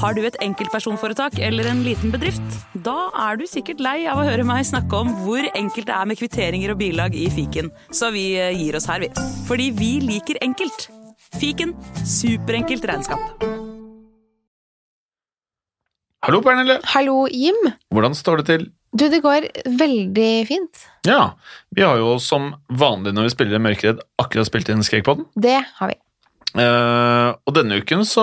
Har du et enkeltpersonforetak eller en liten bedrift? Da er du sikkert lei av å høre meg snakke om hvor enkelt det er med kvitteringer og bilag i fiken, så vi eh, gir oss her, vi. Fordi vi liker enkelt. Fiken superenkelt regnskap. Hallo, Pernille. Hallo, Jim. Hvordan står det til? Du, det går veldig fint. Ja, vi har jo som vanlig når vi spiller Mørkeredd, akkurat spilt inn Skrekkpodden. Det har vi. Eh, og denne uken så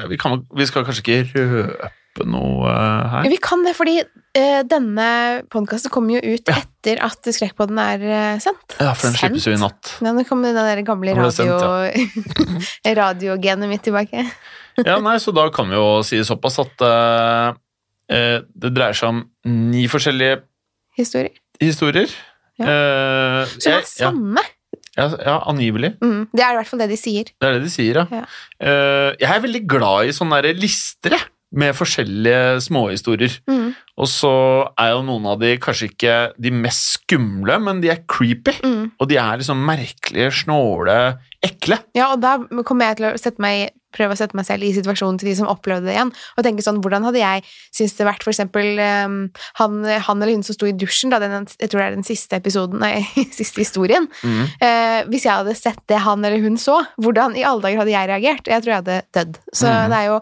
ja, vi, kan, vi skal kanskje ikke røpe noe eh, her. Vi kan det, fordi eh, denne podkasten kommer jo ut Ja. etter at Skrekkpodden er eh, sendt. Ja, for den slippes jo i natt. Ja, nå kommer den der gamle Nå ble det sendt, radio... radiogenet mitt tilbake. Ja, nei, så da kan vi jo si såpass at eh, eh, det dreier seg om ni forskjellige Historier. historier. Ja. Eh, Som jeg- er sanne. Ja, ja, ja, angivelig. Mm, det er i hvert fall det de sier. Det er det de sier, ja. Ja. Eh, jeg er veldig glad i sånne der lister, jeg, med forskjellige småhistorier. Mm, Og så er jo noen av de kanskje ikke de mest skumle, men de er creepy. mm. Og de er liksom merkelige, snåle, ekle. Ja, og da kommer jeg til å sette meg, prøve å sette meg selv i situasjonen til de som opplevde det igjen, og tenke sånn, hvordan hadde jeg syntes det vært for eksempel ehm, han, han eller hun som sto i dusjen, da, den, jeg tror det er den siste episoden, nei, siste historien, eh, hvis jeg hadde sett det han eller hun så, hvordan i alle dager hadde jeg reagert? Jeg tror jeg hadde dødd. Så Mhm. det, er jo,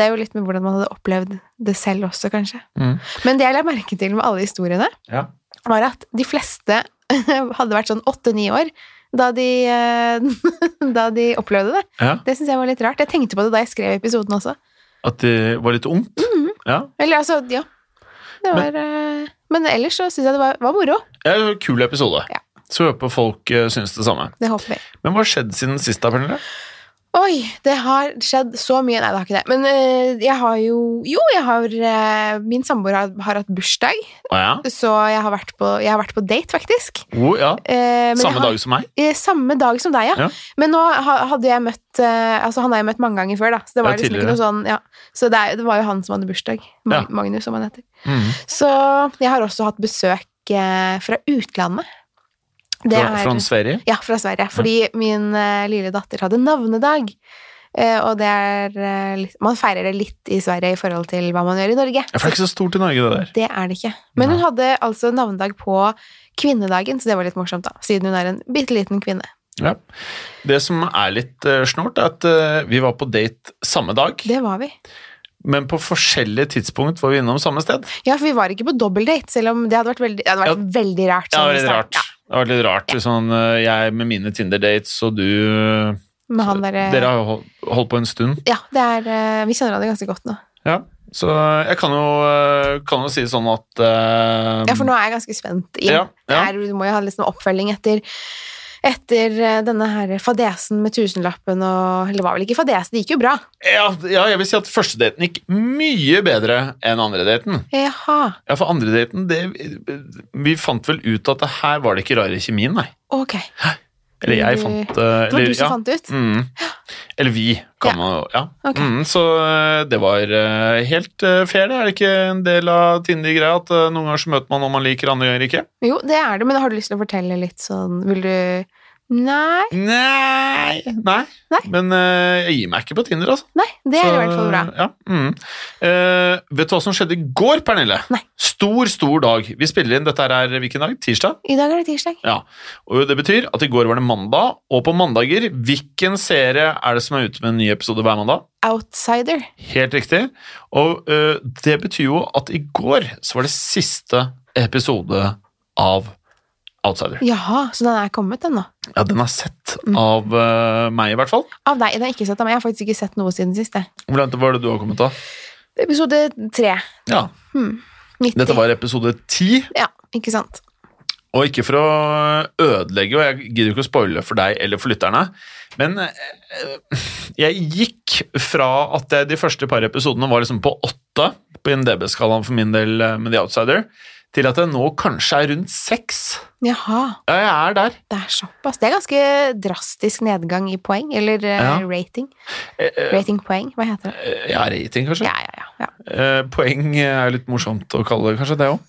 det er jo litt med hvordan man hadde opplevd det selv også, kanskje. Mhm. Men det jeg la merke til med alle historiene, Ja. var at de fleste hadde vært sånn åtte-ni år da de, eh, da de opplevde det. Ja, Det syns jeg var litt rart. Jeg tenkte på det da jeg skrev episoden også. At det var litt ungt. Ja. Eller altså, ja. Det var eh, Men ellers så syns jeg det var, var moro. ja, det var en kul episode. Ja. Så håper folk eh, syns det samme. Det håper vi. Men hva har skjedd siden sist, da, Pernille? Oi, det har skjedd så mye. Nei, det har ikke det. Men eh, jeg har jo Jo, jeg har eh, Min samboer har, har hatt bursdag, Å ja. så jeg har vært på, jeg har vært på date, faktisk. Oh, ja. Eh, men jeg Samme har- dag som meg. Eh, Samme dag som deg, ja. Ja. Men nå ha- hadde jeg møtt eh, Altså, han har jeg møtt mange ganger før, da. Så det var Ja, liksom ikke noe sånn ja. Så det, er, det var jo han som hadde bursdag. Ma- Ja. Magnus, som han heter. Mm. Så jeg har også hatt besøk eh, fra utlandet. Det Fra, er- fra Sverige. Ja, fra Sverige. Fordi min eh, lille datter hadde navnedag. Eh, og det er eh, litt, Man feirer det litt i Sverige i forhold til hva man gjør i Norge. Ja, for det er ikke så stort i Norge, det der. Det er det ikke. Men hun hadde altså navnedag på kvinnedagen, så det var litt morsomt, da. Siden hun er en bitte liten kvinne. Ja. Det som er litt eh, snålt, er at eh, vi var på date samme dag, Det var vi. men på forskjellige tidspunkt var vi innom samme sted. Ja, for vi var ikke på dobbeltdate, selv om det hadde vært veldig, det hadde vært veldig rart. Det sånn var i litt starten. rart. Det var litt rart. Sånn, eh, jeg med mine Tinder-dates, og du eh, Ja, med han der, eh, Dere har jo hol- holdt på en stund. ja, det er, eh, vi kjenner han jo ganske godt nå. Ja. Så eh, jeg kan jo, eh, kan jo si sånn at eh, Ja, for nå er jeg ganske spent. Inn. Ja, ja. Det er, du må jo ha litt sånn oppfølging etter, etter eh, denne her fadesen med tusenlappen og Eller det var vel ikke fadesen, det gikk jo bra. ja, ja, jeg vil si at første daten gikk mye bedre enn andre daten. Jaha, Ja, for andre daten, det Vi fant vel ut at det her var det ikke rare kjemien, nei. ok. Eller jeg Du- fant eh, Det var eller- du som ja. fant det ut. Mm. Eller vi, kan Ja. man jo. Ja. Ok. Mm, så eh, det var eh, helt eh, fair, det. Er det ikke en del av Tinder-greia at eh, noen ganger så møter man noen man liker, andre ganger ikke? Jo, det er det, men har du lyst til å fortelle litt sånn Vil du Nei. Nei! Nei. Nei. Men eh, jeg gir meg ikke på Tinder, altså. Nei, det er Så, i hvert fall bra. Ja. Mm. Eh, vet du hva som skjedde i går, Pernille? Nei. Stor, stor dag. Vi spiller inn, dette her er hvilken dag? Tirsdag? I dag er det tirsdag. Ja, og det betyr at i går var det mandag, og på mandager, hvilken serie er det som er ute med en ny episode hver mandag? Outsider. Helt riktig. Og ø, det betyr jo at i går så var det siste episode av Outsider. Jaha, så den er kommet, den nå. Ja, den er sett av ø, meg, i hvert fall. Av deg. Den er ikke sett av meg. Jeg har faktisk ikke sett noe siden sist. jeg. Hvor langt var det du har kommet da? Episode tre. Ja, Hmm. 90. Dette var episode ti, Ja, ikke sant. og ikke for å ødelegge, og jeg gidder ikke å spoile for deg eller for lytterne, men ø, jeg gikk fra at jeg, de første par episodene var liksom på åtte på IMDb-skalaen for min del ø, med The Outsider, til at jeg nå kanskje er rundt seks. Jaha. Ja, jeg er der. Det er såpass. Det er ganske drastisk nedgang i poeng, eller eh, Ja. rating. Eh, eh, Ratingpoeng, hva heter det? Ja, Eh, rating, kanskje. Ja, ja, ja. ja. Eh, poeng er litt morsomt å kalle det, kanskje det òg.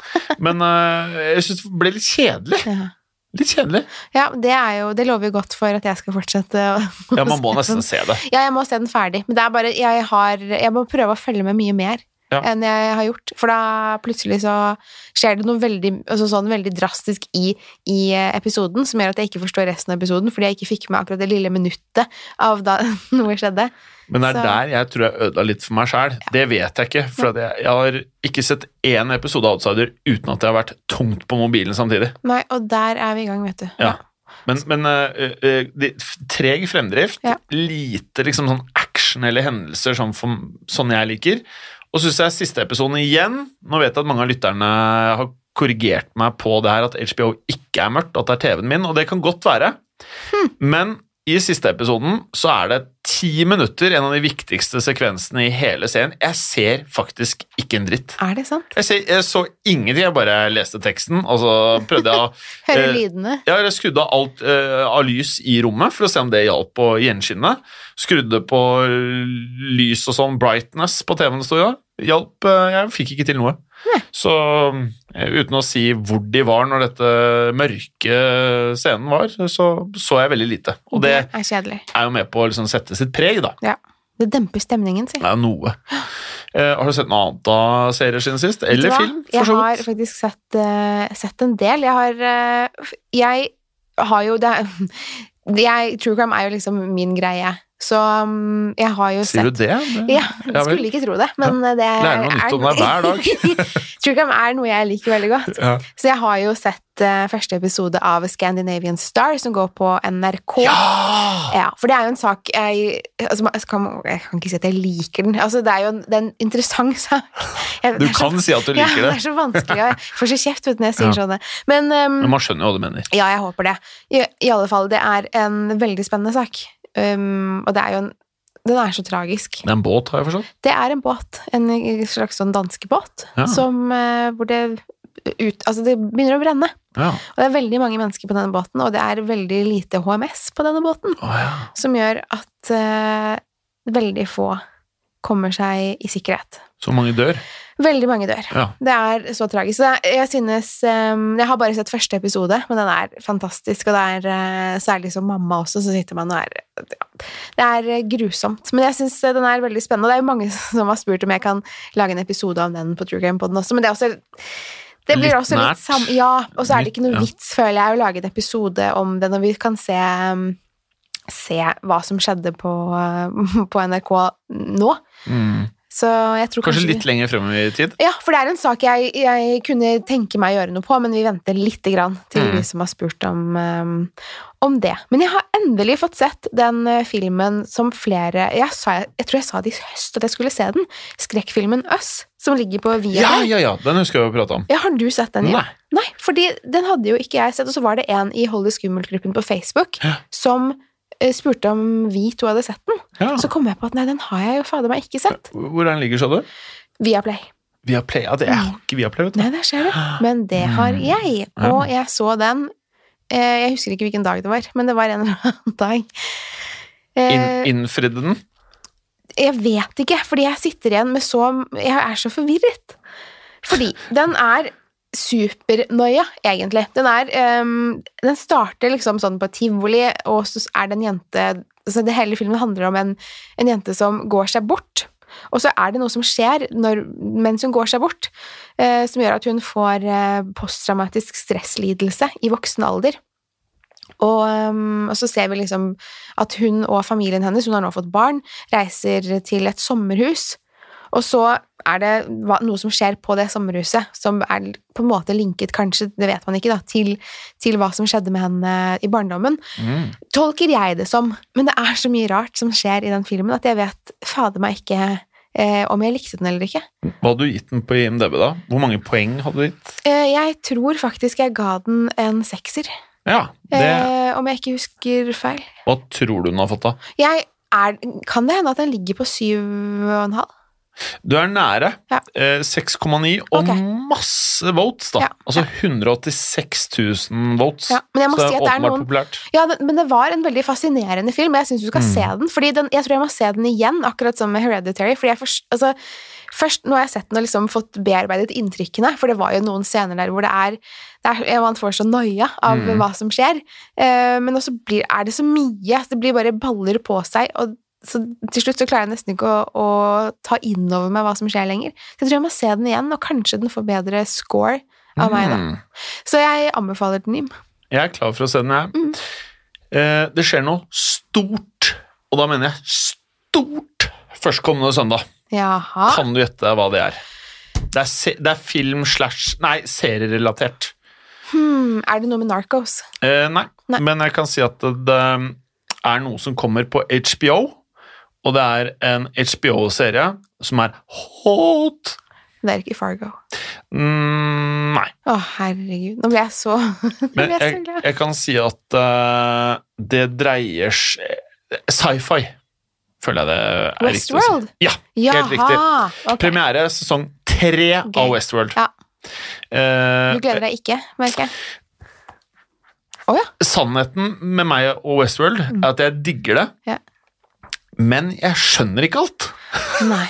Men eh, jeg syns det ble litt kjedelig. ja. Litt kjedelig. Ja, det, er jo, det lover jo godt for at jeg skal fortsette. å- Ja, man må å se nesten den. se det. Ja, jeg må se den ferdig. Men det er bare, jeg, har, jeg må prøve å følge med mye mer Ja. enn jeg har gjort. For da plutselig så skjer det noe veldig, altså sånn veldig drastisk i, i eh, episoden, som gjør at jeg ikke forstår resten av episoden, fordi jeg ikke fikk med akkurat det lille minuttet av da noe skjedde. Men det er Så- der jeg tror jeg ødela litt for meg sjæl. Det vet jeg ikke. For at jeg, jeg har ikke sett én episode av Outsider uten at jeg har vært tungt på mobilen samtidig. Nei, og der er vi i gang, vet du. Ja. Men, men eh, eh, de, f- treg fremdrift, Ja. lite liksom sånn action eller hendelser sånn, for, sånn jeg liker. Og så syns jeg siste episoden igjen Nå vet jeg at mange av lytterne har korrigert meg på det her, at HBO ikke er mørkt, at det er TV-en min, og det kan godt være. Men i siste episoden så er det ti minutter, en av de viktigste sekvensene i hele serien. Jeg ser faktisk ikke en dritt. Er det sant? Jeg, ser, jeg så ingenting, jeg bare leste teksten, og så prøvde jeg å Hører Eh, lydene. ja, Jeg skrudde av alt eh, av lys i rommet for å se om det hjalp å gjenskinne. Skrudde på eh, lys og sånn, brightness på TV-en det sto jo. Hjalp eh, Jeg fikk ikke til noe. Så eh, uten å si hvor de var når dette mørke scenen var, så så jeg veldig lite. Og det Det er kjedelig. er jo med på å liksom sette sitt preg, da. Ja. Det demper stemningen, si. Det er jo noe. Eh, har du sett noe annet av serier siden sist? Vet du Eller hva? film, for så Jeg har vidt? faktisk sett, eh, sett en del. Jeg har eh, f- Jeg har jo det jeg, True crime er jo liksom min greie. Så mm, jeg har jo Sier sett du det? det? ja, Ja jeg vel. skulle ikke tro det, men eh, det Lærer noe nytt om deg hver dag. True crime er noe jeg liker veldig godt. Ja. Så jeg har jo sett eh, første episode av Scandinavian Star, som går på NRK. Ja! Ja, for det er jo en sak jeg, altså, man- jeg, kan, jeg kan ikke si at jeg liker den. Altså, det er jo en, det er en interessant sak. Jeg, Du det er så- kan si at du liker ja, det. det er så vanskelig. og Jeg får så kjeft vet, du, når jeg sier Ja. sånne. Men um, Men man skjønner jo hva du mener. ja, jeg håper det. I, I alle fall, det er en veldig spennende sak. Um, og det er jo en Den er så tragisk. Det er en båt, har jeg forstått. Det er en båt, en slags sånn danskebåt, Ja. som eh, hvor det ut, Altså, det begynner å brenne. Ja. Og det er veldig mange mennesker på denne båten, og det er veldig lite HMS på denne båten, Å, ja. som gjør at eh, veldig få kommer seg i sikkerhet. Så mange dør. Veldig mange dør. Ja. Det er så tragisk. Så det er- Jeg synes ehm, Jeg har bare sett første episode, men den er fantastisk. Og det er eh, særlig som mamma også, så sitter man og er ja, Det er eh, grusomt. Men jeg syns den er veldig spennende. Og det er jo mange som har spurt om jeg kan lage en episode om den på True Crime Podden også, men det er også det blir Litt også nært. litt sam ja, og så er det ikke Litt, noe ja. vits, føler jeg, å lage en episode om det når vi kan se ehm, Se hva som skjedde på, eh, på NRK nå. Så jeg tror Mm. Kanskje kanskje vi- litt lenger frem i tid. ja, for det er en sak jeg, jeg kunne tenke meg å gjøre noe på, men vi venter lite grann til Mm. de som har spurt om, ehm, om det. Men jeg har endelig fått sett den eh, filmen som flere jeg, sa, jeg tror jeg sa det i høst at jeg skulle se den. Skrekkfilmen Us, som ligger på Ja, Viaplay. Ja, ja, ja! Den husker jeg å prate om. har du sett den? Ja? Nei. Nei, fordi den hadde jo ikke jeg sett, og så var det en i Hold det skummelt-gruppen på Facebook Ja. som eh, spurte om vi to hadde sett den. Ja. Så kom jeg på at nei, den har jeg jo fader meg ikke sett. Hvor er den ligger, sa du? Viaplay. Viaplay? Ja, det jeg Mm. har ikke Viaplay, vet du. Nei, der ser du. Men det har jeg. Og jeg så den eh, Jeg husker ikke hvilken dag det var, men det var en eller annen dag. In, Eh, innfridde den? jeg vet ikke, fordi jeg sitter igjen med så Jeg er så forvirret. Fordi den er supernoia, egentlig. Den er ehm, Den starter liksom sånn på et tivoli, og så er det en jente så det Hele filmen handler om en, en jente som går seg bort. Og så er det noe som skjer når, mens hun går seg bort, eh, som gjør at hun får eh, posttraumatisk stresslidelse i voksen alder. Og, ehm, og så ser vi liksom at hun og familien hennes, hun har nå fått barn, reiser til et sommerhus. Og så er det hva- noe som skjer på det sommerhuset, som er på en måte linket, kanskje, det vet man ikke, da, til, til hva som skjedde med henne i barndommen. Mm. Tolker jeg det som. Men det er så mye rart som skjer i den filmen, at jeg vet fader meg ikke eh, om jeg likte den eller ikke. Hva hadde du gitt den på IMDb, da? Hvor mange poeng hadde du gitt? Eh, jeg tror faktisk jeg ga den en sekser, Ja, det, eh, om jeg ikke husker feil. Hva tror du den har fått, da? Jeg er, kan det hende at den ligger på syv og en halv? Du er nære. Ja. Eh, 6,9 og Ok. masse votes, da. Ja. Altså 186 000 votes. Ja, men jeg må så si det er at det er åpenbart noen- populært. Ja, det- men det var en veldig fascinerende film, og jeg syns du Mm. skal se den. Fordi den, jeg tror jeg må se den igjen, akkurat som med Hereditary. Fordi jeg først, altså, først nå har jeg sett den og liksom fått bearbeidet inntrykkene, for det var jo noen scener der hvor det er, det er Man får så noia av Mm. hva som skjer. Eh, men også blir, er det så mye. Det blir bare baller på seg. og så til slutt så klarer jeg nesten ikke å, å ta inn over meg hva som skjer lenger. Så jeg tror jeg må se den igjen, og kanskje den får bedre score av meg, da. Mm. Så jeg anbefaler den, Jim. Jeg er klar for å se den, jeg. Mm. Eh, det skjer noe stort, og da mener jeg stort, førstkommende søndag. Jaha. Kan du gjette hva det er? Det er, se det er film slash Nei, serierelatert. Hmm, er det noe med Narcos? Eh, nei. Nei. men jeg kan si at det, det er noe som kommer på HBO, og det er en HBO-serie som er hot. Det er ikke Fargo. Mm, nei. Å, herregud. Nå ble jeg så Nå ble Men jeg jeg, så glad. jeg kan si at eh, det dreier seg Sci-fi, føler jeg det er riktig å si. Westworld? Ja, helt riktig. Jaha, ok. Premiere sesong tre Gøy. av Westworld. Ja. Eh, Du gleder deg ikke, merker jeg. Å ja. sannheten med meg og Westworld er at jeg digger det, Mm. Ja. men jeg skjønner ikke alt. Nei.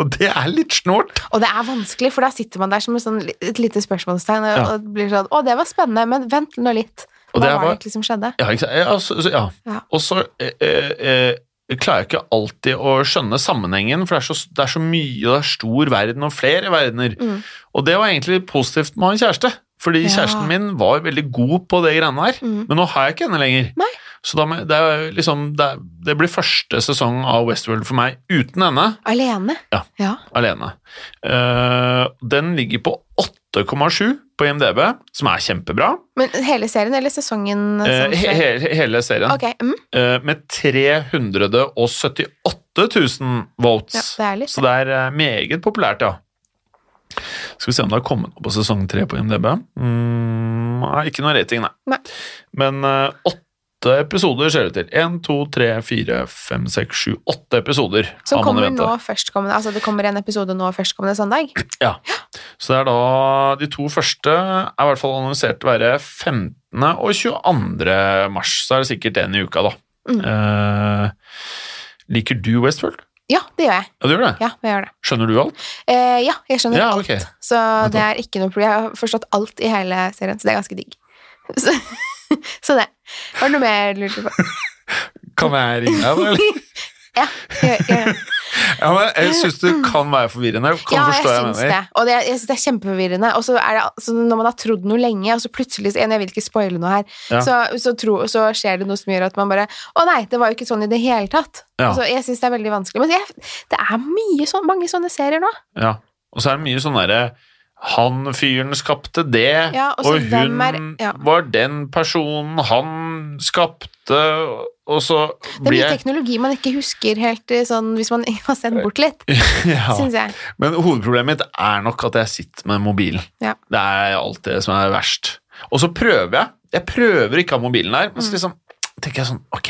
Og det er litt snålt. Og det er vanskelig, for da sitter man der som et, sånn, li- et lite spørsmålstegn og, Ja. og blir sånn Å, det var spennende, men vent nå litt. Og Hva det er var bare- det egentlig som skjedde? Ja, ikke sant? Ja, så- så- ja. Ja. Og så eh, eh, eh, klarer jeg ikke alltid å skjønne sammenhengen, for det er så, det er så mye, og det er stor verden og flere verdener. Mm. Og det var egentlig positivt med å ha en kjæreste, fordi Ja. kjæresten min var veldig god på det greiene her, Mm. men nå har jeg ikke henne lenger. Nei. Så da, må jeg- det, er jo liksom, det, er- det blir første sesong av Westworld for meg uten henne Alene? Ja. ja. alene. Eh, den ligger på 8,7 på IMDb, som er kjempebra. Men hele serien eller sesongen? Eh, som he, skjer? he, hele serien. Ok, mm, eh, med 378 000 votes. ja, det er litt Så det er eh, meget populært, ja. Skal vi se om det har kommet noe på sesong tre på IMDb. Mm, nei, ikke noe rating, nei. Nei. Men eh, åtte episoder ser det ut til. Én, to, tre, fire, fem, seks, sju, åtte episoder. Som har man i kommer vente. nå førstkommende Altså det kommer en episode nå førstkommende søndag? Så det er da De to første er i hvert fall annonsert til å være 15. og 22. mars. Så er det sikkert en i uka, da. Mm. Eh, liker du Westworld? Ja, det gjør jeg. Ja, du gjør det? Ja, jeg gjør det. Skjønner du alt? Eh, ja, jeg skjønner Ja, alt. ok. Så det er ikke noe problem. Jeg har forstått alt i hele serien, så det er ganske digg. Så, så det. Var det noe mer du lurte på? Kan jeg ringe deg, da? eller? Ja, jeg, jeg, Ja, men jeg syns du kan være forvirrende. Jeg Kan ja, jeg forstå hva jeg syns mener. det. Og det, jeg synes det er kjempeforvirrende. Og så er det så når man har trodd noe lenge, og så plutselig så- Jeg vil ikke spoile noe her. Ja. Så, så, tro, så skjer det noe som gjør at man bare Å nei, det var jo ikke sånn i det hele tatt. Ja. Så jeg syns det er veldig vanskelig. Men jeg, det er mye sånn, mange sånne serier nå. Ja. Og så er det mye sånn derre han fyren skapte det, Ja, og så og hun hvem er- ja. var den personen han skapte, og så Det er blir mye jeg teknologi man ikke husker helt eh, sånn hvis man har sett bort litt, ja. syns jeg. Men hovedproblemet mitt er nok at jeg sitter med mobilen. Ja. Det er alt det som er verst. Og så prøver jeg. Jeg prøver ikke å ha mobilen der, Mm. men så liksom tenker jeg sånn Ok,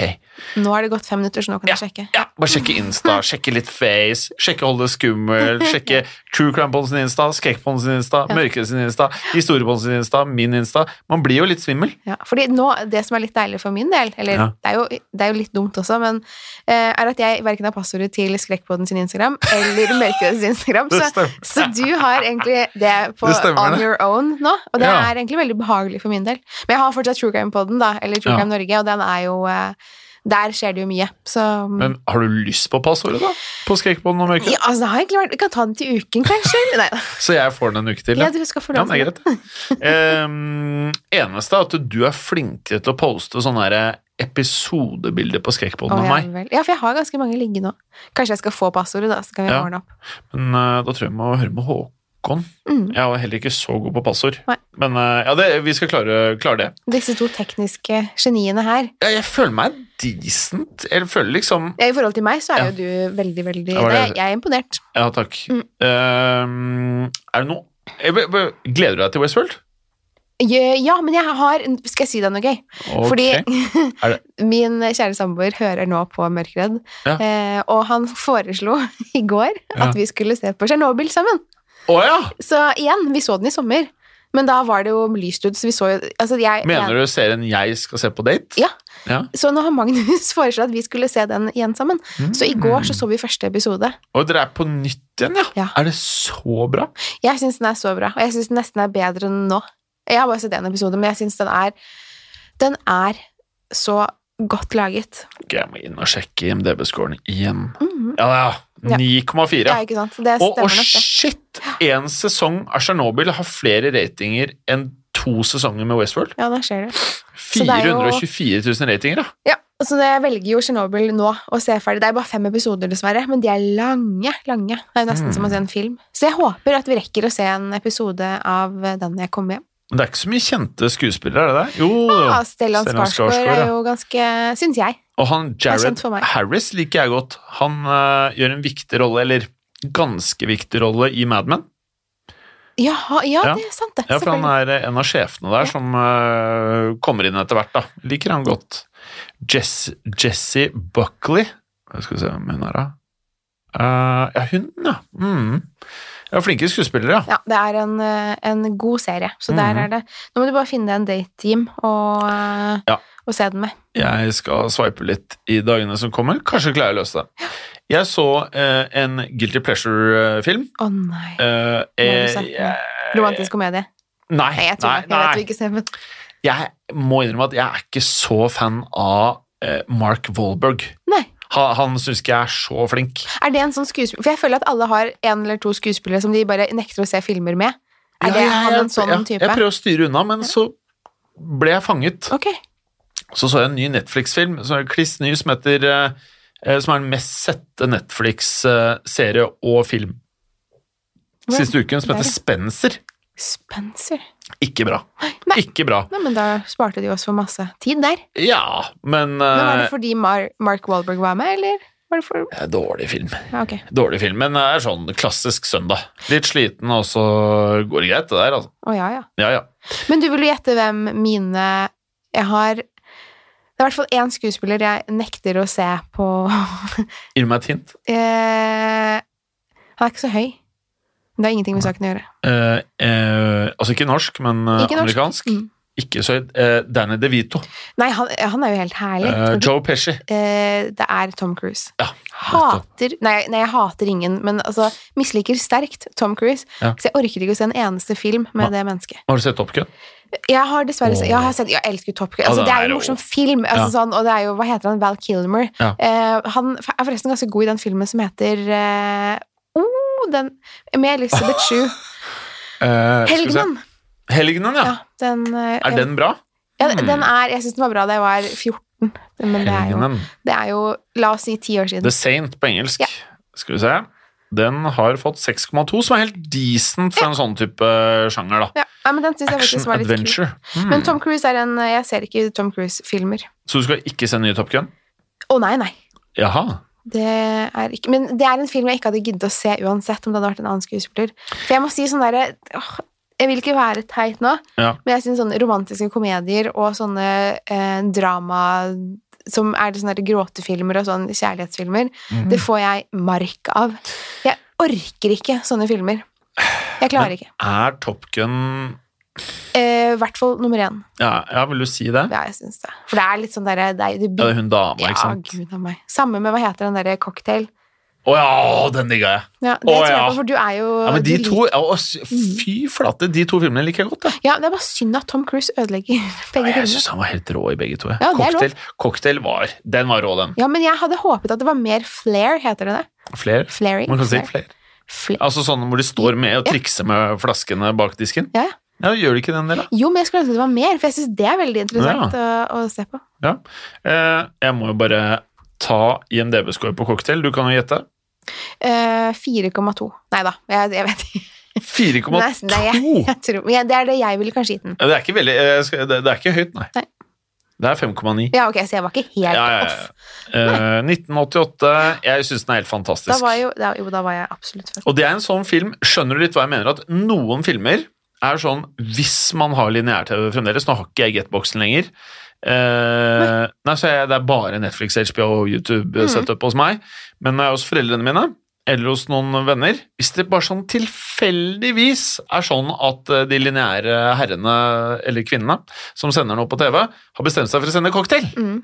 Nå har det gått fem minutter, så nå kan jeg sjekke. ja, bare sjekke Insta, sjekke litt Face, sjekke Hold det skummelt, sjekke True Crime på sin Insta, Skrekk på sin Insta, Mørke sin Insta, Historie på sin Insta, min Insta. Man blir jo litt svimmel. Ja, fordi nå, det som er litt deilig for min del, eller Ja. det, er jo, det er jo litt dumt også, men eh, er at jeg verken har passordet til Skrekkpodden sin Instagram eller Mørkedes sin Instagram, Det så, stemmer. så du har egentlig det på Det stemmer, on det. your own nå, og det Ja. er egentlig veldig behagelig for min del. Men jeg har fortsatt True Crime-podden da, eller True Ja. Crime Norge, og den er jo, eh, der skjer det jo mye, så... mm. Men har du lyst på passordet, da? På Skrekkbånd og Mørke? ja, altså, det har egentlig vært, vi kan ta den til uken, kanskje? Nei, Så jeg får den en uke til. ja, Ja, du skal få ja lov men det er til det. greit. Um, eneste er at du er flinkere til å poste sånne her eh, episodebilder på Skrekkbånd Å, enn ja, meg. vel. ja, for jeg har ganske mange liggende nå. Kanskje jeg skal få passordet, da, så kan vi Ja. ordne opp. Men eh, da tror jeg jeg må høre med Håkon. Mm. Jeg er heller ikke så god på passord. Nei. Men eh, ja, det, vi skal klare, klare det. Disse to tekniske geniene her. Jeg, jeg føler meg decent. Jeg føler liksom Ja, I forhold til meg så er jo du veldig, veldig Ja, hva er Nei, det? Jeg er imponert. Ja, takk. Ehm, Mm. Eh, er det noe jeg, be- be- Gleder du deg til Westworld? Ja, men jeg har Skal jeg si deg noe gøy? Ok. Fordi Er det- min kjære samboer hører nå på Mørkredd, Ja. eh, og han foreslo i går Ja. at vi skulle se på Tsjernobyl sammen. Å ja! Så igjen, vi så den i sommer, men da var det jo lyst ut, så vi så jo altså jeg, Mener du serien jeg skal se på date? Ja. ja. Så nå har Magnus foreslått at vi skulle se den igjen sammen. Så i går så, så vi første episode. Mm. Og dere er på nytt igjen, ja? Ja. Er det så bra? Jeg syns den er så bra, og jeg syns den nesten er bedre enn nå. Jeg har bare sett én episode, men jeg syns den er Den er så godt laget. Ok, jeg må inn og sjekke IMDb-scoren igjen. Mhm. Ja, Ja. ja. 9,4. Ja, ikke sant? Det Og, og stemmer nok, det. shit! En sesong av Tsjernobyl har flere ratinger enn to sesonger med Westworld. Ja, der ser du. Så det er jo- 424 000 ratinger, da. Ja, så jeg velger jo Tsjernobyl nå å se ferdig. Det er bare fem episoder, dessverre, men de er lange. lange. Det er jo nesten Mm. som å se en film. Så jeg håper at vi rekker å se en episode av den når jeg kommer hjem. Men det er ikke så mye kjente skuespillere, er det det? Jo, Ah, Ja, Stellan Mm. Stellan Skarsgård Skarsgård, ja. er jo ganske Syns jeg. og han det er Jared kjent for meg. Harris liker jeg godt. Han eh, gjør en viktig rolle, eller ganske viktig rolle, i Mad Men. Jaha, ja, Ja. det er sant, det. Ja, for han Selvfølgelig. er en av sjefene der som eh, kommer inn etter hvert, da. Liker han godt. Jess, Jessie Buckley Jeg Skal vi se hvem hun er, da. Eh, ja, hun, ja. Mm. ja. Flinke skuespillere, ja. Ja, det er en, eh, en god serie, så der Mhm. er det Nå må du bare finne deg en date, Jim, og, eh, Ja. og se den med. Jeg skal sveipe litt i dagene som kommer. Kanskje klarer jeg å løse det. Jeg så eh, en Guilty Pleasure-film. Å nei. Eh, Må du eh, se den? jeg- Romantisk komedie. Nei, Nei, jeg nei, tror det. Jeg vet du nei. ikke ser men Jeg må innrømme at jeg er ikke så fan av eh, Mark Wahlberg. Nei. Han, han syns ikke jeg er så flink. Er det en sånn skuespiller For jeg føler at alle har en eller to skuespillere som de bare nekter å se filmer med. Er Ja, det jeg- han jeg- en sånn ja, type? Jeg prøver å styre unna, men så ble jeg fanget. Ok. Så så jeg en ny Netflix-film, som er kliss ny, som heter eh, eh, Som er den mest sette Netflix-serie og film Ja, siste uken, som det er heter Spencer. Spencer Ikke bra. Nei. Ikke bra. Nei, men da sparte de oss for masse tid der. Ja, men Men Var det eh, fordi Mar Mark Wahlberg var med, eller? Var det for det er Dårlig film. Ja, ok. Dårlig film, men det er sånn klassisk søndag. Litt sliten, og så går det greit, det der, altså. Å ja, ja. Ja, ja. Men du vil jo gjette hvem mine Jeg har Det er i hvert fall én skuespiller jeg nekter å se på Gir du meg et hint? eh, Han er ikke så høy. Men det har ingenting med saken å gjøre. Eh, eh, altså ikke norsk, men eh, Ikke norsk. amerikansk. Mm. Ikke så høyt. Eh, Danny DeVito. Nei, han, han er jo helt herlig. Eh, Joe Pesci. Eh, det er Tom Cruise. Ja, hater nei, nei, jeg hater ingen, men altså misliker sterkt Tom Cruise. Ja. Så jeg orker ikke å se en eneste film med det mennesket. Har du sett Top Gun? Jeg har dessverre se- Åh. jeg, har sett, jeg elsker Top Gun. Ja, Altså, den det er er jo jo- en morsom film, altså, sånn, og det er jo Hva heter han? Val Kilmer. Ja. Eh, han er forresten ganske god i den filmen som heter eh, oh, den, Med Elizabeth Shue. Eh, skal vi se. Helgenen! Helgenen, ja. Ja, den, eh, Er den bra? ja, den er Jeg syns den var bra da jeg var 14, men det er jo, Helgenen. det er jo La oss si ti år The siden. Saint på engelsk. Ja. Skal vi se. Den har fått 6,2, som er helt decent for en sånn type sjanger, da. Ja, nei, men den synes jeg Action faktisk var litt kul. adventure. Hmm. Men Tom Cruise er en eh, Jeg ser ikke Tom Cruise-filmer. Så du skal ikke se nye Top Gun? Å nei, nei. Jaha. Det er ikke, men det er en film jeg ikke hadde giddet å se uansett om det hadde vært en annen skuespiller. For jeg må si sånn derre åh, Jeg vil ikke være teit nå, Ja. men jeg syns sånne romantiske komedier og sånne eh, drama som er det sånne der gråtefilmer og sånne kjærlighetsfilmer, Mhm. det får jeg mark av. Jeg orker ikke sånne filmer. Jeg klarer ikke. Er Top Gun Eh, I hvert fall nummer én. Ja, ja vil du si det? Ja, jeg syns det. For det er litt sånn derre det, er- det Ja, det er hun dama, ikke Ja, sant? gud av meg. Samme med hva heter den derre cocktail. Å ja, den digga jeg! Ja, det Å, tror jeg ja. på, for du er jo Ja, men de du to, ja, å, s- Fy flate, de to filmene liker jeg godt. Da. liker- Ja, det er bare synd at Tom Cruise ødelegger begge Jeg filmene. syns han var helt rå i begge to. jeg. Ja, det er lov. cocktail, cocktail var Den var rå, den. Ja, men jeg hadde håpet at det var mer flair, heter det det? Flere. Flaring? Man kan si Flair. flere. Flair. Altså sånne hvor de står med og Ja. trikser med flaskene bak disken. Ja, ja. Ja, Gjør de ikke den delen? Jo, men jeg skulle ønske det var mer, for jeg syns det er veldig interessant å, å se på. Ja. Eh, jeg må jo bare ta IMDb-score på cocktail. Du kan jo gjette. Eh, 4,2. Nei da, jeg, jeg vet ikke. 4,2! Nesten, nei, jeg, jeg tror, men jeg, det er det jeg ville kanskje gitt den. Ja, Det, er ikke veldig- eh, skal- det det er ikke høyt, nei. Nei. Det er 5,9. Ja, ok, så jeg var ikke Ja, helt ja, ja. off. Eh, 1988. Jeg syns den er helt fantastisk. Da var jo, da, jo, da var jeg absolutt født. Og det er en sånn film, skjønner du litt hva jeg mener, at noen filmer er sånn Hvis man har lineær-TV fremdeles Nå har ikke jeg Getboxen lenger. Eh, nei, så jeg, Det er bare Netflix, HBO og YouTube-setup eh, hos meg. Men når jeg er hos foreldrene mine eller hos noen venner Hvis det bare sånn tilfeldigvis er sånn at eh, de lineære herrene eller kvinnene som sender noe på TV, har bestemt seg for å sende cocktail, Mm.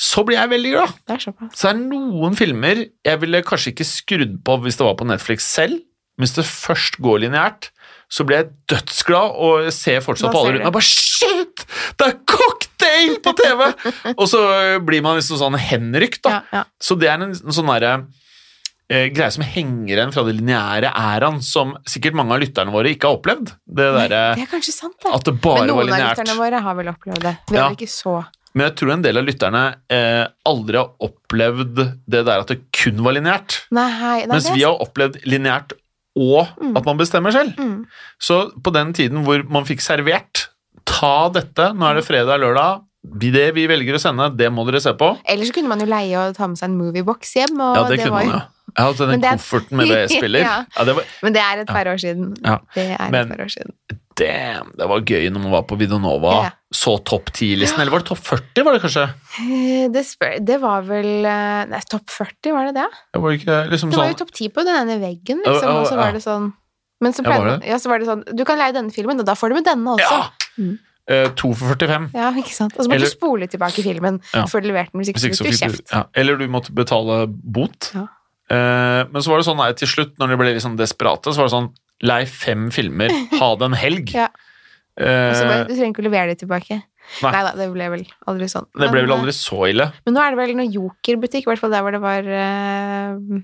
så blir jeg veldig glad. Det er såpass. Så er det noen filmer jeg ville kanskje ikke skrudd på hvis det var på Netflix selv. men Hvis det først går lineært, så blir jeg dødsglad og ser fortsatt Da på ser alle du. rundt meg og bare Shit! Det er cocktail på TV! og så blir man liksom sånn henrykt, da. Ja, ja. Så det er en, en sånn derre eh, greie som henger igjen fra det lineære æraen, som sikkert mange av lytterne våre ikke har opplevd. Det derre Det er kanskje sant, det. at det Men bare var noen av lineært. lytterne våre har vel opplevd det. Vi Ja. har ikke så Men jeg tror en del av lytterne eh, aldri har opplevd det der at det kun var lineært. Nei, hei. Nei, Mens det er vi har opplevd lineært og at man bestemmer selv. Mm. Så på den tiden hvor man fikk servert Ta dette, nå er det fredag, lørdag. Det vi velger å sende, det må dere se på. Ellers så kunne man jo leie og ta med seg en moviebox hjem. Og Ja, det, kunne var man jo. Jeg hadde Men den det er- kofferten med VS-spiller. Ja. ja, det var Men det er et par år siden. Ja. Det er Men- et par år siden. Damn, det var gøy når man var på Videonova. Ja. Så topp 10-listen. Eller var det topp 40, var det kanskje? Eh, Det, spør, det var vel eh, Nei, topp 40, var det det? Det var, ikke, liksom Det var sånn, jo topp 10 på den ene veggen, Ja, liksom. ja, Og ja. så var det sånn Men så Ja, var pleide det? Ja, så var det sånn Du kan leie denne filmen, og da får du med denne også. Ja! Mm. Eh, to for 45. Ja, ikke sant? Og så måtte Eller- du spole tilbake filmen Ja. før du leverte den, hvis Hvis ikke ikke så så fikk du fikk du kjeft. ja. Eller du måtte betale bot. Ja. Eh, men så var det sånn nei, til slutt, når de ble liksom desperate, så var det sånn Lei fem filmer, ha det en helg. Ja. Og så bare, Eh, du trenger ikke å levere det tilbake. Nei. Nei. da, det ble vel aldri sånn. det ble Men, vel aldri så ille. eh, Men nå er det vel noe Joker-butikk, i hvert fall der hvor det var eh,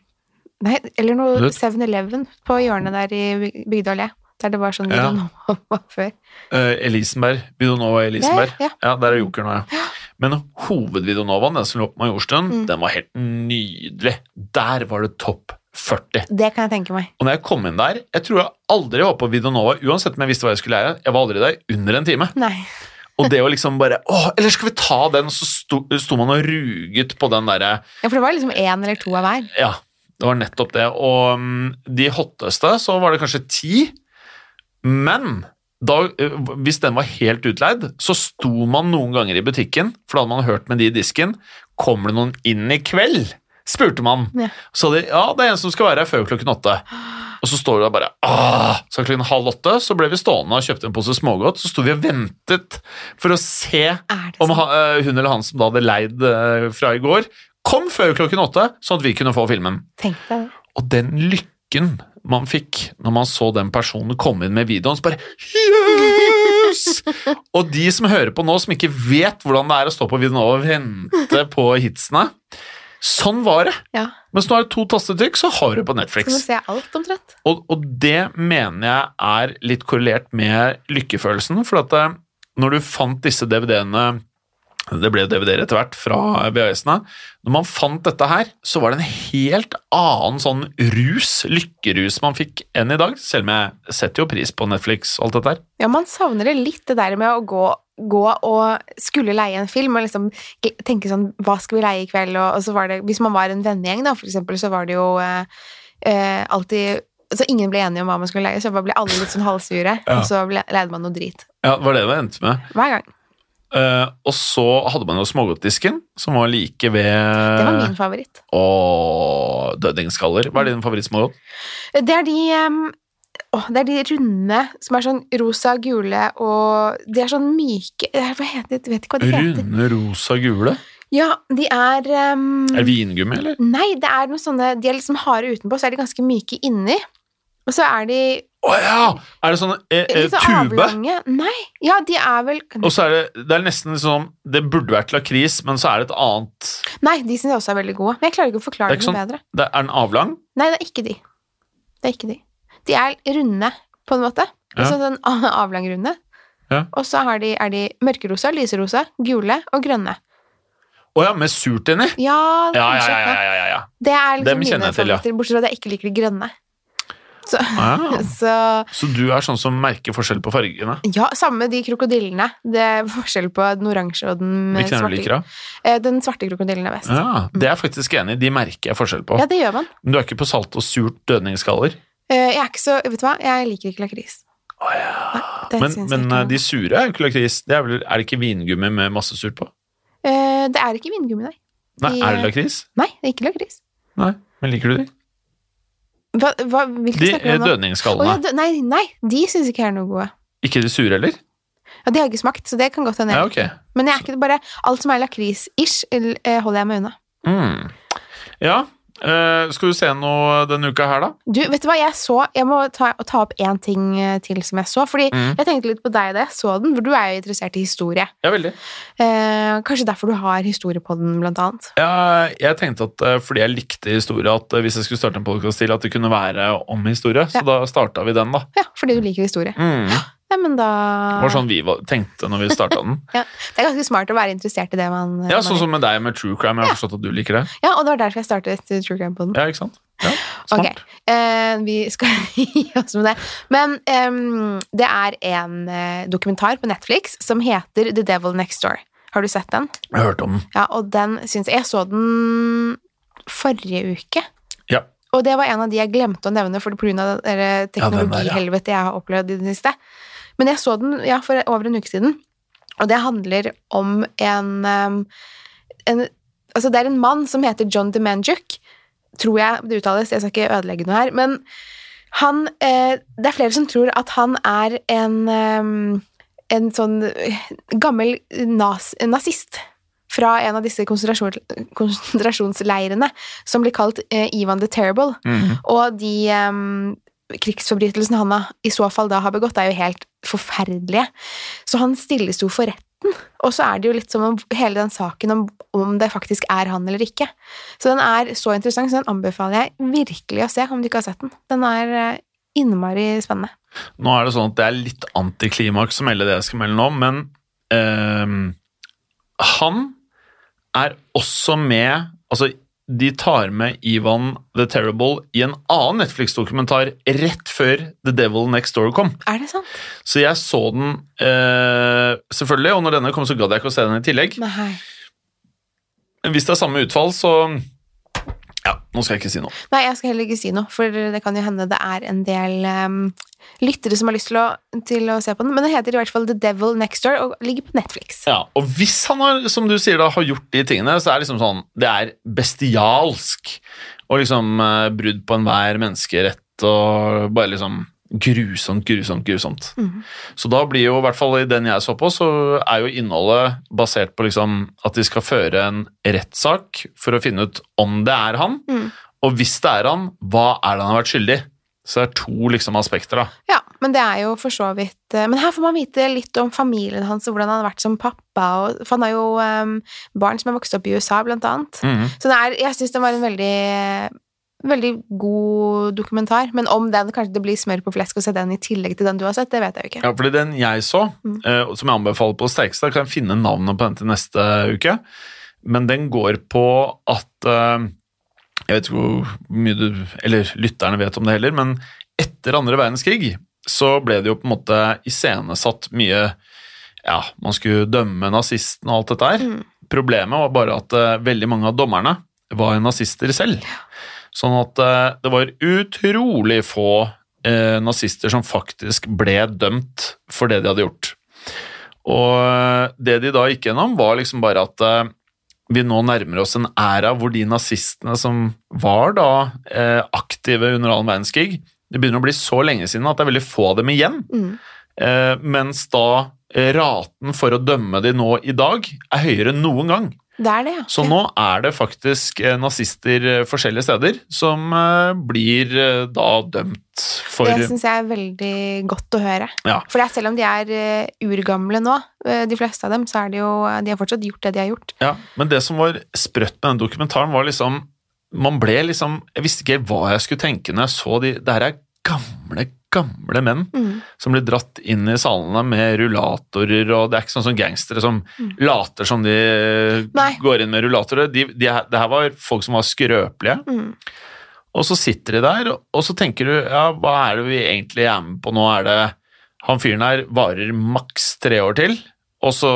Nei, eller Du noe vet- 7-Eleven på hjørnet der i Byg- Bygdøy allé. Der det var sånn Ja. Videonova var før. Eh, Elisenberg, Videonova i Elisenberg. Ja, Ja, der er Joker nå, ja. Men hovedvideonovaen, den som lå på Majorstuen, Mm. den var helt nydelig. Der var det topp 40. Det kan jeg tenke meg. Og når jeg kom inn der, jeg tror jeg aldri var på Videonova, uansett om jeg visste hva jeg skulle lære, jeg var aldri der under en time. Nei. Og det å liksom bare Å, eller skal vi ta den? Og så sto, sto man og ruget på den derre Ja, for det var liksom én eller to av hver. Ja, det var nettopp det. Og mm, de hotteste, så var det kanskje ti. Men da, eh, hvis den var helt utleid, så sto man noen ganger i butikken, for da hadde man hørt med de i disken Kommer det noen inn i kveld? spurte man. Ja. Så de, ja, det er en som skal være her før klokken åtte. Og så står du der bare Åh! Så klokken halv åtte så ble vi stående og kjøpte en pose smågodt. Så sto vi og ventet for å se Er det om sånn? ha- eh, hun eller han som da hadde leid eh, fra i går, kom før klokken åtte, sånn at vi kunne få filmen. Tenk deg det. Og den lykken man fikk når man så den personen komme inn med videoen, så bare Yes! og de som hører på nå, som ikke vet hvordan det er å stå på videoen og vente på hitsene Sånn var det. Ja. Mens nå er det to tastetrykk, så har du på Skal man Netflix. se alt, omtrent? Og, og det mener jeg er litt korrelert med lykkefølelsen, for at eh, når du fant disse DVD-ene det ble DVD-er etter hvert fra VHS-ene. Når man fant dette her, så var det en helt annen sånn rus, lykkerus man fikk enn i dag. Selv om jeg setter jo pris på Netflix og alt dette her. Ja, man savner det litt, det der med å gå, gå og skulle leie en film, og liksom gl- tenke sånn, hva skal vi leie i kveld? Og, og så var det, hvis man var en vennegjeng da, for eksempel, så var det jo eh, eh, alltid, så ingen ble enige om hva man skulle leie, så bare ble alle litt sånn halvsure, Ja. og så ble, leide man noe drit. Ja, det var det det endte med. Hver gang. Eh, og så hadde man jo smågodtdisken, som var like ved Eh. Det var min favoritt. Åh, dødningsskaller. Hva er din favorittsmågodt? Det er de... em, åh, det er de runde som er sånn rosa, gule og De er sånn myke eh, Hva heter det? Jeg vet ikke hva de heter. Runde, rosa, gule. Ja, de er em, Er det vingummi, eller? Nei, det er noen sånne De er liksom harde utenpå, så er de ganske myke inni. Og så er de Å ja! Er det sånn eh, eh, litt sånn tube? avlange. Nei, ja, de er vel Og så er det, det er nesten som Det burde vært lakris, men så er det et annet Nei, de syns jeg også er veldig gode. Men jeg klarer ikke å forklare Det er det, ikke sånn- noe bedre. det Er den avlang? Nei, det er ikke de. Det er ikke de. De er runde, på en måte. Ja. Altså sånn a- avlang runde. Ja. Og så har de, er de mørkerosa, lyserosa, gule og grønne. Å ja, med surt inni? Ja, Ja, det, er ja, kanskje ja. ikke- ja, ja, ja. det er Dem liksom kjenner mine jeg til, ja. favoritter, bortsett fra at jeg ikke liker de grønne. Så, Ah, så så du er sånn som merker forskjell på fargene? Ja, samme med de krokodillene. Det er forskjell på den oransje og den eh, Hvilken er du svarte. liker, da? Eh, Den svarte krokodillen er best. Ja. Ja, det er jeg faktisk enig i. De merker jeg forskjell på. det gjør man. Men du er ikke på salt og surt dødningsskaller? Eh, Jeg er ikke så Vet du hva, jeg liker ikke lakris. Å det Men, syns jeg men ikke. eh, de sure er jo ikke lakris. Det er, vel, er det ikke vingummi med masse sur på? Eh, det er ikke vingummi, nei. Nei, De, Er det eh, lakris? Nei, det er ikke lakris. Nei, men liker du de? Hva, hva, hvilke De eh, snakker vi om nå? Å, ja, dødningsskallene. dø- nei, nei, de syns ikke jeg er noe gode. Ikke de sure heller? Ja, De har jeg ikke smakt, så det kan godt hende. Ja, jeg ok. Men jeg er ikke bare alt som er lakris-ish, l- eh, holder jeg meg unna. Mm. Ja, eh, skal du se noe denne uka her, da? Du, vet du hva jeg så? Jeg må ta, ta opp én ting eh, til som jeg så. Fordi Mm. jeg tenkte litt på deg da jeg så den, for du er jo interessert i historie. Ja, veldig. Eh, kanskje derfor du har historiepodden, blant annet. Ja, jeg tenkte at eh, fordi jeg likte historie, at eh, hvis jeg skulle starte en podkast til, at det kunne være om historie. Så Ja. da starta vi den, da. Ja, fordi du liker historie. Mm. Nei, men da Det var sånn vi var, tenkte når vi starta den. ja, Det er ganske smart å være interessert i det man Ja, man- Sånn som med deg med true crime. Jeg har forstått at du liker det. ja, og det var derfor jeg startet True Crime-podden. Ja, ikke sant? Ja, Ok, smart. eh, vi skal gi oss med det. Men ehm, det er en eh, dokumentar på Netflix som heter The Devil Next Door. Har du sett den? Jeg hørte om den. Ja, og den syns jeg Jeg så den forrige uke. Ja. Og det var en av de jeg glemte å nevne for pga. Ja, den der, ja. teknologihelvetet eh, jeg har opplevd i det siste. Men jeg så den ja, for over en uke siden, og det handler om en, um, en Altså, det er en mann som heter John Demanjuk, tror jeg det uttales, jeg skal ikke ødelegge noe her, men han eh, Det er flere som tror at han er en um, en sånn eh, gammel nas, nazist fra en av disse konsentrasjon, konsentrasjonsleirene som blir kalt eh, Ivan the Terrible. Mhm. Og de um, krigsforbrytelsene han har, i så fall da har begått, er jo helt forferdelige. Så han stilles jo for retten, og så er det jo litt som om hele den saken om, om det faktisk er han eller ikke. Så den er så interessant, så den anbefaler jeg virkelig å se, om du ikke har sett den. Den er eh, innmari spennende. Nå er det sånn at det er litt antiklimaks å melde det jeg skal melde nå, men ehm, han er også med Altså, de tar med Ivan the Terrible i en annen Netflix-dokumentar rett før The Devil Next Door kom. Er det sant? Så jeg så den eh, selvfølgelig, og når denne kom, så gadd jeg ikke å se den i tillegg. Nei. Hvis det er samme utfall, så Ja, nå skal jeg ikke si noe. Nei, jeg skal heller ikke si noe, for det kan jo hende det er en del ehm, lyttere som har lyst til å, til å se på den. Men den heter i hvert fall The Devil Next Door og ligger på Netflix. Ja, og hvis han har, som du sier da, har gjort de tingene, så er det liksom sånn, det er bestialsk, og liksom eh, brudd på enhver menneskerett, og bare liksom grusomt, grusomt, grusomt. Mhm. Så da blir jo, i hvert fall i den jeg så på, så er jo innholdet basert på liksom at de skal føre en rettssak for å finne ut om det er han, Mhm. og hvis det er han, hva er det han har vært skyldig? Så det er to liksom aspekter da. Ja, men det er jo for så vidt eh, Men her får man vite litt om familien hans og hvordan han har vært som pappa. Og, for han har jo ehm, barn som har vokst opp i USA, blant annet. Mhm. Så det er, jeg syns den var en veldig Veldig god dokumentar, men om den kanskje det blir smør på flesk å se den i tillegg til den du har sett, det vet jeg jo ikke. Ja, fordi den jeg så, Mm. eh, og som jeg anbefaler på det sterkeste, kan jeg finne navnet på den til neste uke. Men den går på at eh, Jeg vet ikke hvor mye du Eller lytterne vet om det heller, men etter andre verdenskrig så ble det jo på en måte iscenesatt mye Ja, man skulle dømme nazistene og alt dette her. Mm. Problemet var bare at eh, veldig mange av dommerne var jo nazister selv. Sånn at eh, det var utrolig få eh, nazister som faktisk ble dømt for det de hadde gjort. Og eh, det de da gikk gjennom, var liksom bare at eh, vi nå nærmer oss en æra hvor de nazistene som var da eh, aktive under annen verdenskrig Det begynner å bli så lenge siden at det er veldig få av dem igjen. Mm. Eh, mens da eh, raten for å dømme de nå i dag er høyere enn noen gang. Det er det, ja. Så nå er det faktisk eh, nazister eh, forskjellige steder som eh, blir eh, da dømt for Det syns jeg er veldig godt å høre. Ja. For det er selv om de er eh, urgamle nå, eh, de fleste av dem, så er det jo eh, De har fortsatt gjort det de har gjort. Ja, men det som var sprøtt med den dokumentaren, var liksom Man ble liksom Jeg visste ikke hva jeg skulle tenke når jeg så de Det her er gamle, gamle menn Mm. som blir dratt inn i salene med rullatorer, og det er ikke sånn som gangstere som later som de Mm. Nei. går inn med rullatorer. De, de, her- det her var folk som var skrøpelige. Mm. Og så sitter de der, og så tenker du ja, hva er det vi egentlig er med på nå? Er det han fyren her varer maks tre år til, og så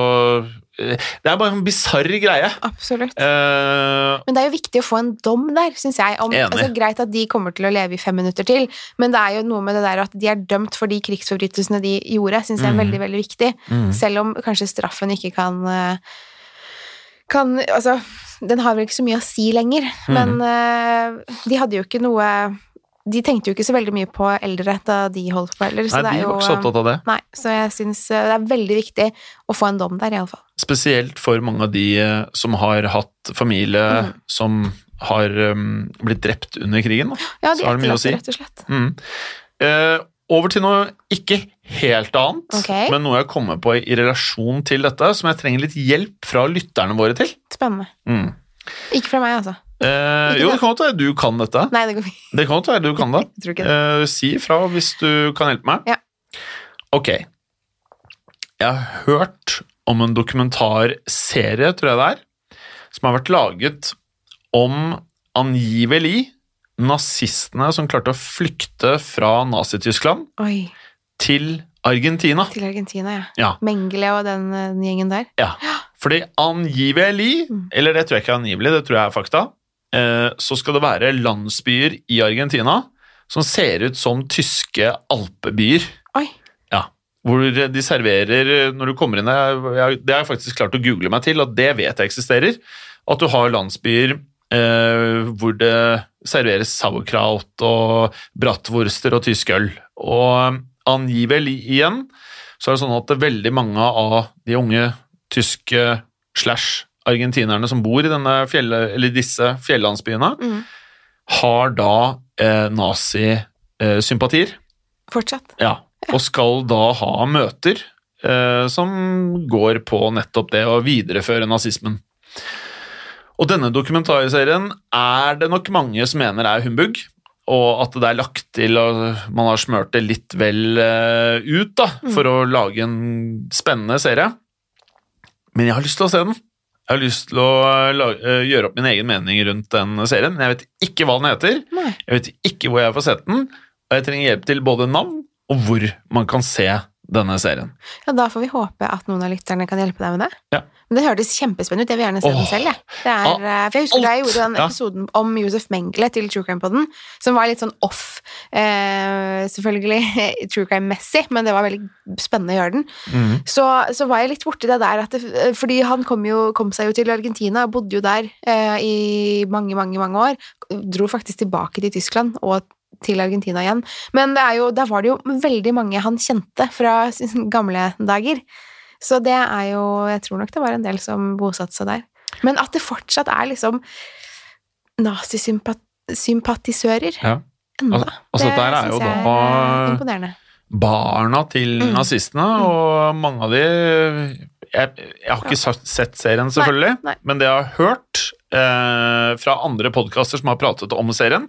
Det er bare en sånn bisarr greie. Absolutt. Eh, Men det er jo viktig å få en dom der, syns jeg. Om, Enig. altså, greit at de kommer til å leve i fem minutter til, men det er jo noe med det der at de er dømt for de krigsforbrytelsene de gjorde, syns jeg er Mm. veldig, veldig viktig. Mm. Selv om kanskje straffen ikke kan eh, kan, altså, Den har vel ikke så mye å si lenger, Mm. men eh, de hadde jo ikke noe De tenkte jo ikke så veldig mye på eldre da de holdt på heller, så nei, de det er jo eh, var ikke så opptatt av det. Nei, så jeg syns eh, det er veldig viktig å få en dom der, iallfall. Spesielt for mange av de eh, som har hatt familie Mm. som har eh, blitt drept under krigen. Da. Ja, Så de har det mye å etterlatte, si. rett og slett. Mm. Eh, over til noe ikke helt annet, Ok. men noe jeg kommer på i relasjon til dette, som jeg trenger litt hjelp fra lytterne våre til. Spennende. Mm. Ikke fra meg, altså. Eh, Ikke jo, det. det kan godt være du kan dette. Nei, det går fint. Det kan godt være du kan det. Jeg tror ikke det. Eh, si ifra hvis du kan hjelpe meg. Ja. Ok. Jeg har hørt om en dokumentarserie, tror jeg det er, som har vært laget om angivelig nazistene som klarte å flykte fra Nazi-Tyskland Oi, til Argentina. til Argentina, ja. Ja. Mengele og den, eh, den gjengen der. Fordi angivelig, Mm. eller det tror jeg ikke er angivelig, det tror jeg er fakta, eh, så skal det være landsbyer i Argentina som ser ut som tyske alpebyer. Oi. Ja. Hvor de serverer når du kommer inn jeg- jeg- Det har jeg faktisk klart å google meg til, og det vet jeg eksisterer. At du har landsbyer eh, hvor det serveres sauerkraut og bratwurster og tysk øl. Og eh, angivelig igjen så er det sånn at det er veldig mange av de unge tyske slash argentinerne som bor i denne fjell, eller disse fjellandsbyene, Mm. har da eh, nazisympatier. Fortsatt. Ja, og skal da ha møter eh, som går på nettopp det å videreføre nazismen. Og denne dokumentarserien er det nok mange som mener er humbug, og at det er lagt til og man har smørt det litt vel eh, ut da, for å lage en spennende serie. Men jeg har lyst til å se den. Jeg har lyst til å eh, la- eh, gjøre opp min egen mening rundt den serien, men jeg vet ikke hva den heter. Nei. Jeg vet ikke hvor jeg får sett den, og jeg trenger hjelp til både navn og hvor man kan se denne serien. Ja, da får vi håpe at noen av lytterne kan hjelpe deg med det. Ja. Men det hørtes kjempespennende ut. Jeg vil gjerne se den Åh. selv, jeg. Det er, eh, for jeg husker da jeg gjorde den Ja. episoden om Josef Mengele til True Crime Podden, som var litt sånn off, eh, selvfølgelig, True Crime-messig, men det var veldig spennende å gjøre den. så, så var jeg litt borti det der at det, Fordi han kom, jo, kom seg jo til Argentina og bodde jo der eh, i mange, mange, mange år. Dro faktisk tilbake til Tyskland og til Argentina igjen. Men det er jo, der var det jo veldig mange han kjente fra sine gamle dager. Så det er jo Jeg tror nok det var en del som bosatte seg der. Men at det fortsatt er liksom nazisympatisører Ja. ennå. Al- altså, dette her er jo Mm. synes jeg da- er imponerende. Barna til Mm. nazistene, og mange av de Jeg, jeg har ikke sagt- sett serien, selvfølgelig, nei. men det jeg har hørt eh, fra andre podkaster som har pratet om serien,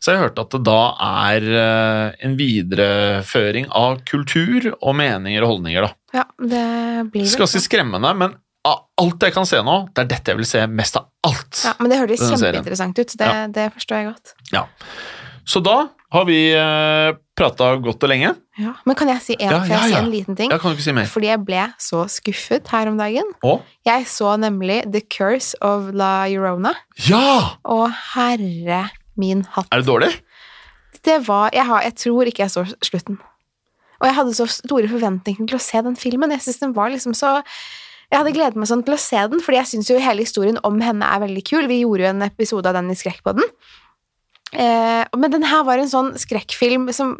så har jeg hørt at det da er eh, en videreføring av kultur og meninger og holdninger, da. Ja, det blir vel Det skal sånn. ganske skremmende, men av alt jeg kan se nå, det er dette jeg vil se mest av alt. Ja, men det høres Denne serien. kjempeinteressant ut. Det, Ja. det forstår jeg godt. Så da har vi eh, prata godt og lenge. Ja. Men kan jeg si en, Ja, får jeg ja, si ja. en liten ting? Jeg kan jo ikke si mer. Fordi jeg ble så skuffet her om dagen. Å? Jeg så nemlig The Curse of La Llorona, Ja! og herre min hatt. Er det dårlig? Det var, jeg, har, jeg tror ikke jeg så slutten. Og jeg hadde så store forventninger til å se den filmen. Jeg synes den var liksom så... Jeg hadde gledet meg sånn til å se den, fordi jeg synes jo hele historien om henne er veldig kul. Vi gjorde jo en episode av den i Skrekkpodden. Eh, men den her var en sånn skrekkfilm som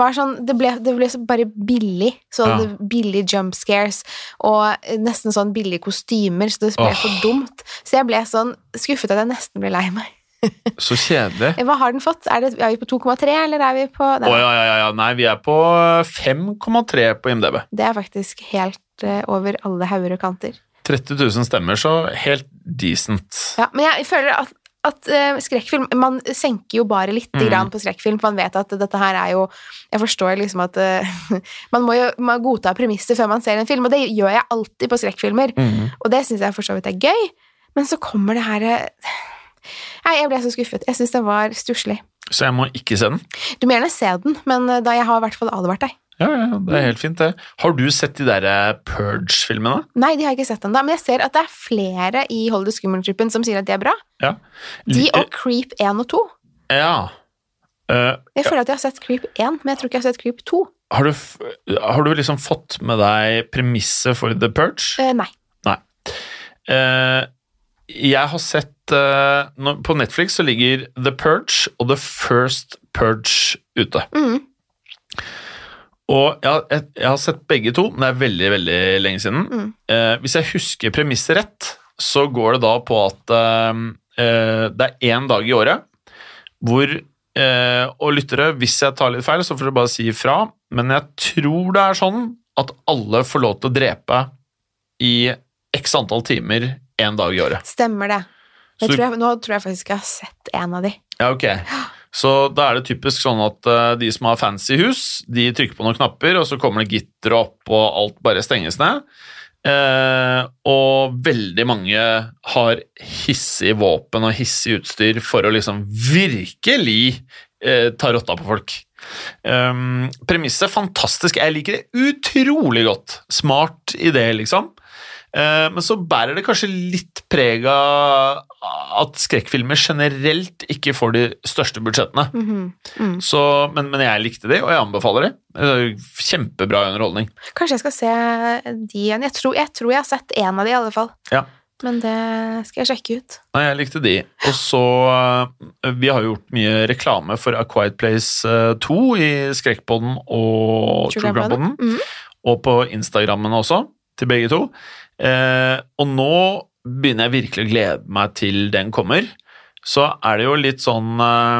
var sånn Det ble, det ble så bare billig. Så Ja. hadde billig jump scares og eh, nesten sånn billige kostymer, så det ble Åh. for dumt. Så jeg ble sånn skuffet at jeg nesten ble lei meg. Så kjedelig. Hva har den fått? Er, det, er vi på 2,3, eller er vi på Å ja, ja, ja, ja. Nei, vi er på eh, 5,3 på IMDb. Det er faktisk helt eh, over alle hauger og kanter. 30 000 stemmer, så helt decent. Ja, men jeg føler at, at eh, skrekkfilm Man senker jo bare lite Mm. grann på skrekkfilm, for man vet at dette her er jo Jeg forstår liksom at eh, Man må jo man godta premisser før man ser en film, og det gjør jeg alltid på skrekkfilmer. Mhm. Og det syns jeg for så vidt er gøy, men så kommer det her eh, Nei, jeg ble så skuffet. Jeg syns den var stusslig. Så jeg må ikke se den. Du må gjerne se den, men eh, da jeg har i hvert fall advart deg. Ja, ja, det er helt fint, det. Har du sett de der eh, Purge-filmene? Nei, de har jeg ikke sett ennå, men jeg ser at det er flere i Hold it skummel-gruppen som sier at de er bra. Ja. Mm. De Eh. og Creep 1 og 2. Ja. Eh, Jeg føler at jeg har sett Creep 1, men jeg tror ikke jeg har sett Creep 2. har, du, f- har du liksom fått med deg premisset for The Purge? Eh, nei. Eh, jeg har sett eh, nå- På Netflix så ligger The Purge og The First Purge ute. Mm. Og jeg, har- jeg, jeg har sett begge to, men det er veldig, veldig lenge siden. Mm. Eh, hvis jeg husker premisset rett, så går det da på at eh, eh, det er én dag i året hvor eh, Og lyttere, hvis jeg tar litt feil, så får dere bare si ifra, men jeg tror det er sånn at alle får lov til å drepe i x antall timer én dag i året. Stemmer det. Så Jeg du- tror jeg, nå tror jeg faktisk jeg har sett en av de. Ja, ok. Så da er det typisk sånn at eh, de som har fancy hus, de trykker på noen knapper, og så kommer det gitter opp, og alt bare stenges ned. Eh, og veldig mange har hissig våpen og hissig utstyr for å liksom virkelig eh, ta rotta på folk. Um, premisset fantastisk. Jeg liker det utrolig godt. Smart idé, liksom. Eh, Men så bærer det kanskje litt preg av at skrekkfilmer generelt ikke får de største budsjettene. Mhm. Mm. Så, men, men jeg likte de, og jeg anbefaler de. Eh, Kjempebra underholdning. Kanskje jeg skal se de igjen. Jeg tror, jeg tror jeg har sett en av de i alle fall. Ja. Men det skal jeg sjekke ut. Nei, jeg likte de. Og så eh, Vi har jo gjort mye reklame for A Quiet Place eh, 2 i Skrekkpodden og True Crime Podden. Mhm. og på Instagrammen også, til begge to. Eh, og nå begynner jeg virkelig å glede meg til den kommer. Så er det jo litt sånn eh,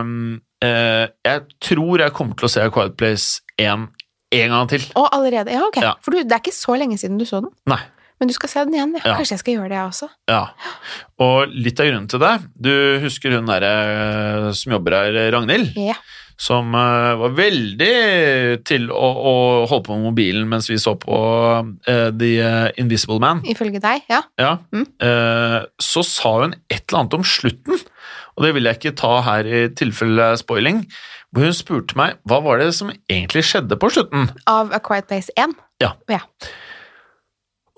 eh, Jeg tror jeg kommer til å se A Quiet Place 1 en gang til. Å, allerede? Ja, ok. Ja. For du, det er ikke så lenge siden du så den. Nei. Men du skal se den igjen, ja. Ja. Kanskje jeg skal gjøre det, jeg også. Ja. Og litt av grunnen til det Du husker hun derre eh, som jobber her, Ragnhild? Ja. Som eh, var veldig til å, å holde på med mobilen mens vi så på eh, The eh, Invisible Man. Ifølge deg, ja. Ja. Mm. Eh, så sa hun et eller annet om slutten, og det vil jeg ikke ta her i tilfelle spoiling, hvor hun spurte meg hva var det som egentlig skjedde på slutten. Av A Quiet Place 1.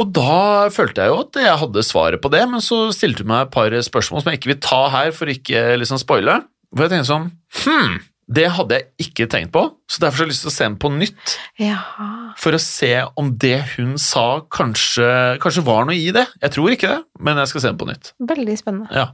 Og da følte jeg jo at jeg hadde svaret på det, men så stilte hun meg et par spørsmål som jeg ikke vil ta her for ikke liksom spoile. Hvor jeg tenkte sånn Hm, det hadde jeg ikke tenkt på, så derfor har jeg lyst til å se den på nytt. Jaha. For å se om det hun sa, kanskje, kanskje var noe i det. Jeg tror ikke det, men jeg skal se den på nytt. Veldig spennende. Ja.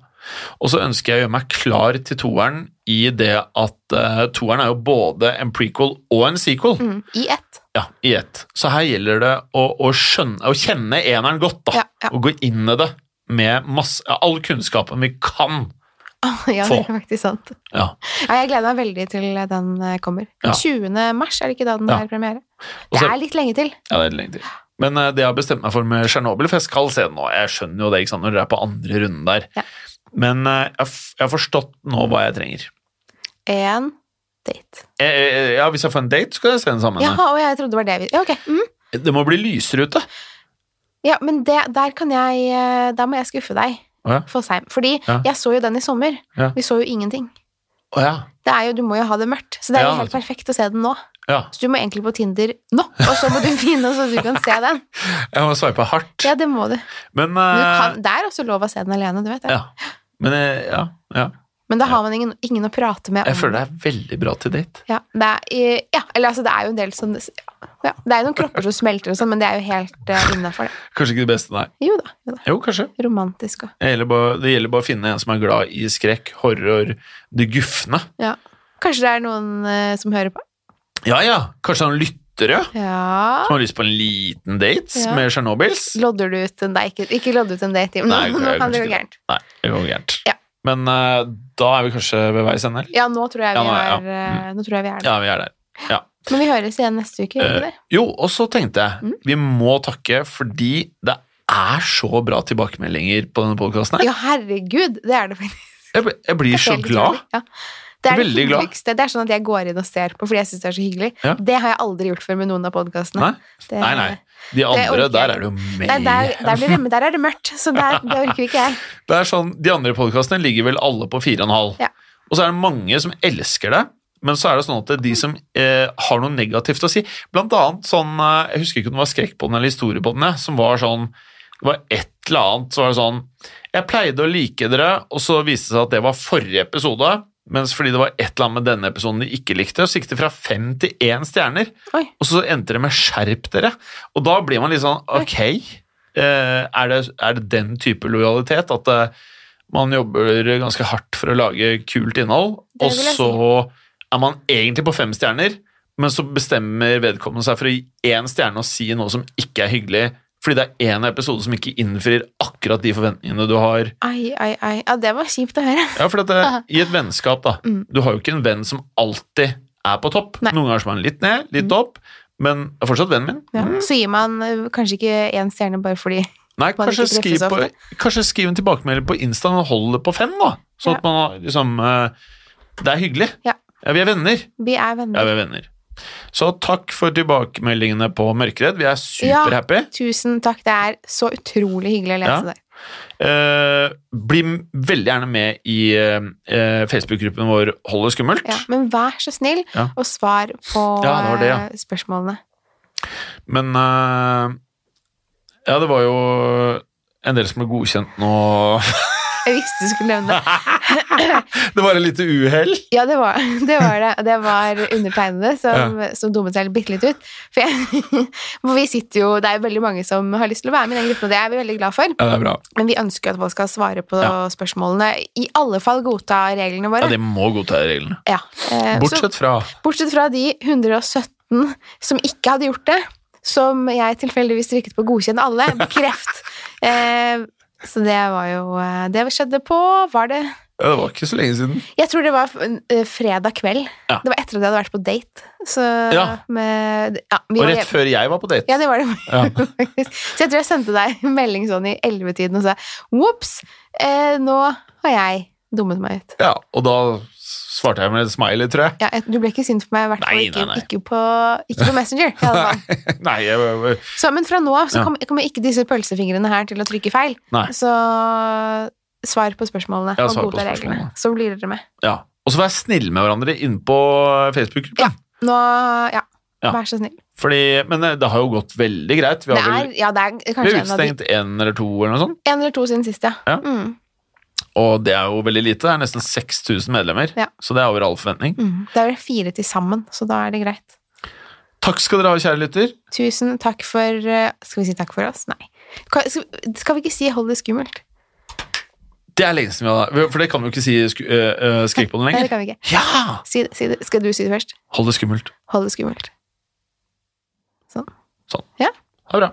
Og så ønsker jeg å gjøre meg klar til toeren i det at eh, toeren er jo både en prequel og en sequel. Mm. I ett. Ja, i ett. Så her gjelder det å, å, skjønne, å kjenne eneren godt, da. Ja, ja. Og gå inn i det med masse, ja, all kunnskapen vi kan. ja, det Få. er faktisk sant. Ja. Ja, jeg gleder meg veldig til den eh, kommer. Ja. 20. mars, er det ikke da den Ja. er premiere? Og Det så- er litt lenge til. Ja, det er lenge til. Men eh, det jeg har bestemt meg for med Tsjernobyl, for jeg skal se den nå, jeg skjønner jo det ikke sant, når dere er på andre runden der, Ja. men eh, jeg, f- jeg har forstått nå hva jeg trenger. En date. Eh, eh, Ja, Hvis jeg får en date, skal jeg se den sammen. Jaha, og jeg trodde det var det vi Ja, ok. Mm. Det må bli lysere ute. Ja, men det, der kan jeg eh, Da må jeg skuffe deg, Å ja. Fosheim. Fordi Ja. jeg så jo den i sommer. Ja. Vi så jo ingenting. Å ja. Det er jo, Du må jo ha det mørkt, så det er Ja, jo helt vet perfekt å se den nå. ja. Så du må egentlig på Tinder nå, og så må du finne så du kan se den. Jeg må sveipe hardt. Ja, det må du. Men, Men du kan, eh, det er også lov å se den alene, du vet det. ja. Men eh, ja, ja. Men da har man ingen, ingen å prate med. om Jeg føler det er veldig bra til date. Ja, det er, eh, ja, eller altså det er jo en del sånn ja, Det er jo noen kropper som smelter og sånn, men det er jo helt uh, innafor, det. Kanskje ikke det beste, nei. Jo da. Jo da. Jo, kanskje. Romantisk og Det gjelder bare, det gjelder bare å finne en som er glad i skrekk, horror, det gufne. Ja. Kanskje det er noen eh, som hører på? Ja, ja. Kanskje han lytter, ja. Ja Som har lyst på en liten date Ja. med Tsjernobyls. Lodder du ut en Nei, ikke, ikke lodde ut en date, Jim. Nå, Nei, nå jeg kan det kanskje gå ikke gærent. Nei, det går gærent. Ja. Men eh, da er vi kanskje ved veis ende? eller? Ja, nå tror jeg vi Ja, nå er- er, ja. eh, nå tror jeg vi er der. Ja, vi er der. Ja. Men vi høres igjen neste uke, gjør vi ikke det? Jo, og så tenkte jeg, Mm. vi må takke fordi det er så bra tilbakemeldinger på denne podkasten her. Ja, herregud! Det er det faktisk. Jeg, bl- jeg blir så Helt glad. utrolig. Ja. Det er det Veldig glad. hyggeligste. Det er sånn at jeg går inn og ser på, fordi jeg syns det er så hyggelig. Ja. Det har jeg aldri gjort før med noen av podkastene. Nei, nei. nei. De andre, orker jeg der ikke. er det jo mer Nei, der, der, blir det, men der er det mørkt, så der, det orker ikke jeg. Det er sånn, De andre podkastene ligger vel alle på 4,5. Ja. Og så er det mange som elsker det, Men så er det sånn at de som eh, har noe negativt å si Blant annet sånn eh, Jeg husker ikke om det var skrekkpodden eller historiepodden, jeg, som var sånn Det var et eller annet så var det sånn Jeg pleide å like dere, og så viste det seg at det var forrige episode. Mens fordi det var et eller annet med denne episoden de ikke likte, så gikk det fra fem til én stjerner. Oi. Og så endte det med 'skjerp dere'. Og da blir man litt sånn ok, eh, er det, er det den type lojalitet? At eh, man jobber ganske hardt for å lage kult innhold, Det og vil jeg så er man egentlig på fem stjerner, men så bestemmer vedkommende seg for å gi én stjerne og si noe som ikke er hyggelig, fordi det er én episode som ikke innfrir akkurat de forventningene du har. Ai, ai, ai. Ja, det var kjipt å høre. Ja, for at det, I et vennskap, da. Du har jo ikke en venn som alltid er på topp. Mm. Nei. Mm. Noen ganger så er han litt ned, litt opp, men det er fortsatt vennen min. Ja. Så gir man eh, kanskje ikke én stjerne bare fordi Nei, Man kanskje ikke treffer skriv, så på, kanskje skriv en tilbakemelding på Insta og hold det på fem, da. Sånn at man har liksom eh, Det er hyggelig. Ja. vi er venner. vi er Ja, venner. vi er venner. Så takk for tilbakemeldingene på Mørkeredd. Vi er superhappy. Tusen takk. Det er så utrolig hyggelig å Ja. lese det. Eh, bli m- veldig gjerne med i eh, eh, Facebook-gruppen vår Hold det skummelt. Ja, men vær så snill Ja. og svar på Ja, det var det, ja. eh, spørsmålene. Men eh, Ja, det var jo en del som ble godkjent nå. Jeg visste du skulle nevne det. Det var et lite uhell. Ja, det var det. Var det. det var undertegnede som, som dummet seg bitte litt ut. For, jeg, for vi sitter jo, det er jo veldig mange som har lyst til å være med i den gruppen, og det er vi veldig glad for. Ja, det er bra. Men vi ønsker jo at folk skal svare på Ja. spørsmålene. I alle fall godta reglene Ja, våre. det må godta reglene. Ja. Eh, så- Bortsett fra Bortsett fra de 117 som ikke hadde gjort det, som jeg tilfeldigvis trykket på 'godkjenn alle', bekreft. eh, så det var jo eh, Det skjedde på Var det Ja, det var ikke så lenge siden. Jeg tror det var eh, fredag kveld. Ja. Det var etter at jeg hadde vært på date. Så Ja. med ja, vi Og var rett hjemme. før jeg var på date. Ja, det var det. Ja. faktisk. Så jeg tror jeg sendte deg en melding sånn i 11-tiden og sa 'ops, eh, nå har jeg dummet meg ut'. Ja, og da svarte jeg med et smiley, tror jeg. Ja, jeg- du ble ikke sint på meg, i hvert fall Nei, ikke, nei, nei. ikke, på, ikke på Messenger. i alle fall. Nei, jeg, Så, men fra nå av så Ja. kom- kommer ikke disse pølsefingrene her til å trykke feil. Nei. Så svar på spørsmålene Ja, og svar på godta reglene. spørsmålene. Så blir dere med. ja. Og så vær snille med hverandre inne på Facebook-gruppen. Nå, ja, Ja. vær så snill. Fordi- Men eh, det har jo gått veldig greit. Vi Det har er, vel ja, det er vi kanskje har en av de utstengt én eller to, eller noe sånt. En eller to siden sist, ja. Ja. Mm. Og det er jo veldig lite. Det er nesten 6000 medlemmer. Ja. Så det er over all forventning. Mm. Det er vel fire til sammen, så da er det greit. Takk skal dere ha, kjære lytter. Tusen takk for eh, Skal vi si takk for oss? Nei. Ka- Skal skal vi ikke si 'hold det skummelt'? Det er lenge siden vi har For det kan vi jo ikke si sku, øh, øh, skrik på den Nei, det lenger. kan vi ikke. Ja! Si, det- si det. Skal du si det først? Hold det skummelt. 'Hold det skummelt'. Sånn. Sånn. Ja. Ha det bra.